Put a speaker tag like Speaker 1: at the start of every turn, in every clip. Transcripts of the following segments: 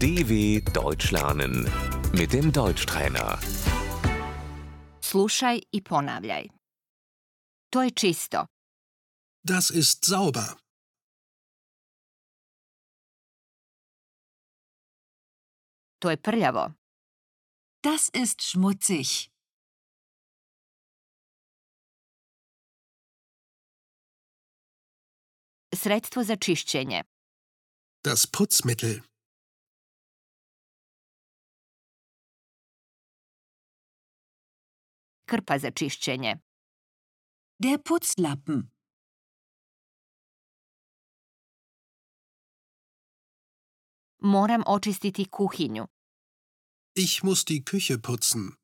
Speaker 1: DW Deutsch lernen mit dem Deutschtrainer.
Speaker 2: Slušaj i ponavljaj. To je čisto.
Speaker 3: Das ist sauber.
Speaker 2: To je prljavo.
Speaker 4: Das ist schmutzig.
Speaker 2: Sredstvo za čišćenje.
Speaker 3: Das Putzmittel.
Speaker 2: Krpa za čišćenje.
Speaker 4: Der Putzlappen.
Speaker 2: Moram očistiti kuhinju.
Speaker 3: Ich muss die Küche putzen.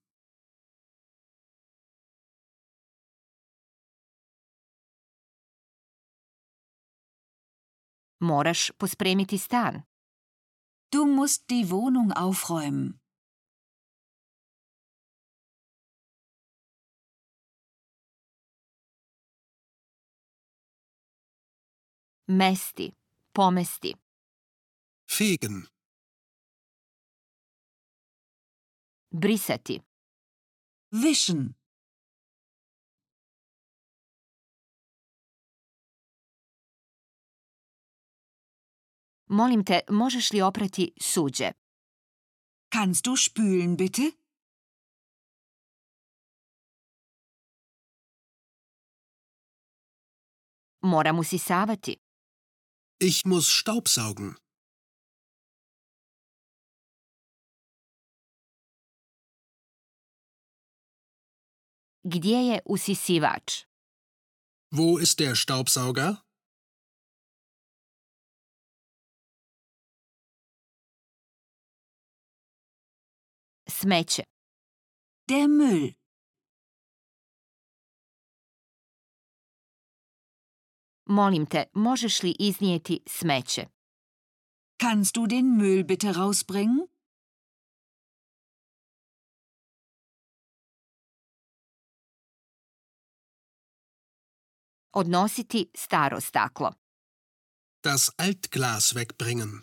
Speaker 2: Moraš pospremiti stan.
Speaker 4: Du musst die Wohnung aufräumen.
Speaker 2: Mesti. Pomesti.
Speaker 3: Fegen.
Speaker 2: Brisati.
Speaker 4: Wischen.
Speaker 2: Molim te, možeš li oprati suđe?
Speaker 4: Kannst du spülen bitte?
Speaker 2: Moram usisavati.
Speaker 3: Ich muss Staubsaugen.
Speaker 2: Gdje je usisivač?
Speaker 3: Wo ist der Staubsauger?
Speaker 2: Smeće.
Speaker 4: Der Müll.
Speaker 2: Molim te, možeš li iznijeti smeće?
Speaker 4: Kannst du den Müll bitte rausbringen?
Speaker 2: Odnositi staro staklo.
Speaker 3: Das Altglas wegbringen.